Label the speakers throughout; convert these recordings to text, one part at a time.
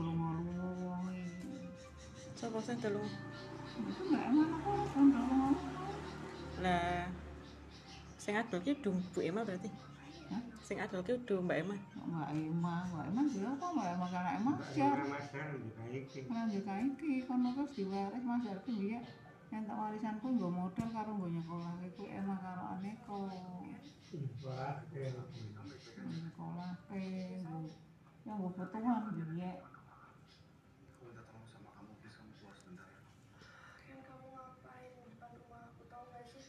Speaker 1: dolong-dolonge.
Speaker 2: Sopo sing delung?
Speaker 1: Itu mbak emang aku kan dolong.
Speaker 2: Lah sing adol ki dung Bu Ema berarti.
Speaker 1: Hah?
Speaker 2: Sing adol ki dung Mbak Ema.
Speaker 1: Mbak Ima, Mbak Ima siapa Mbak Ima karena Ima siapa?
Speaker 3: Masar juga iki.
Speaker 1: Nah, juga iki kono terus diwaris Mas Arti dia entuk warisanku nggo modal karo nggo nyekolahke kuwi emang karo aneko.
Speaker 3: Wah, eh,
Speaker 1: Nyekolahke. nggo- Ya nggo butuhan dia.
Speaker 4: Aku minta tolong sama kamu, please kamu keluar sebentar. ya.
Speaker 5: Kan kamu ngapain di depan rumah aku tahu gak sih?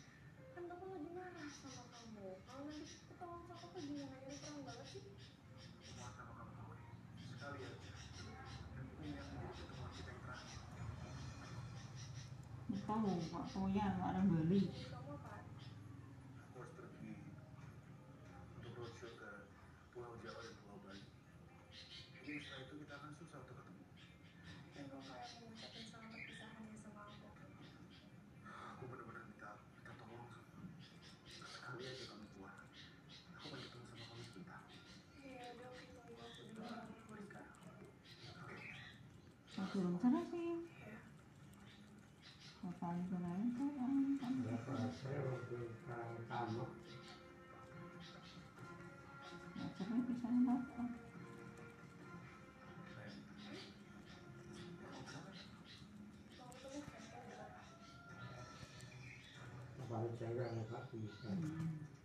Speaker 5: Kan aku lagi marah sama kamu. Kalau nanti ketahuan sama aku gimana? Jadi terang banget sih.
Speaker 4: Semua sama kamu, oke? Sekali aja. Dan ini yang menjadi pertemuan kita yang terakhir.
Speaker 1: Itu Pak Soyan, Pak Nang Bali.
Speaker 5: Jadi kamu apa?
Speaker 4: Aku harus pergi untuk roadshow ke Pulau Jawa dan Pulau Bali. Jadi setelah itu kita akan susah untuk ketemu.
Speaker 5: Dan kamu kayak mau ngucapin selamat perpisahannya sama aku.
Speaker 4: Aku benar-benar minta minta tolong sama kamu. Sekali aja kamu keluar. Aku akan ketemu sama kamu sebentar.
Speaker 5: Ya udah aku tunggu aku di rumah.
Speaker 1: Mas durung sana sih. Bapak itu nanti kan.
Speaker 3: nggak terasa ya waktu kalau kamu
Speaker 1: Ya, tapi bisa apa?
Speaker 5: Mau ketemu kan?
Speaker 3: kepala jaga nggak bisa.
Speaker 1: Hmm.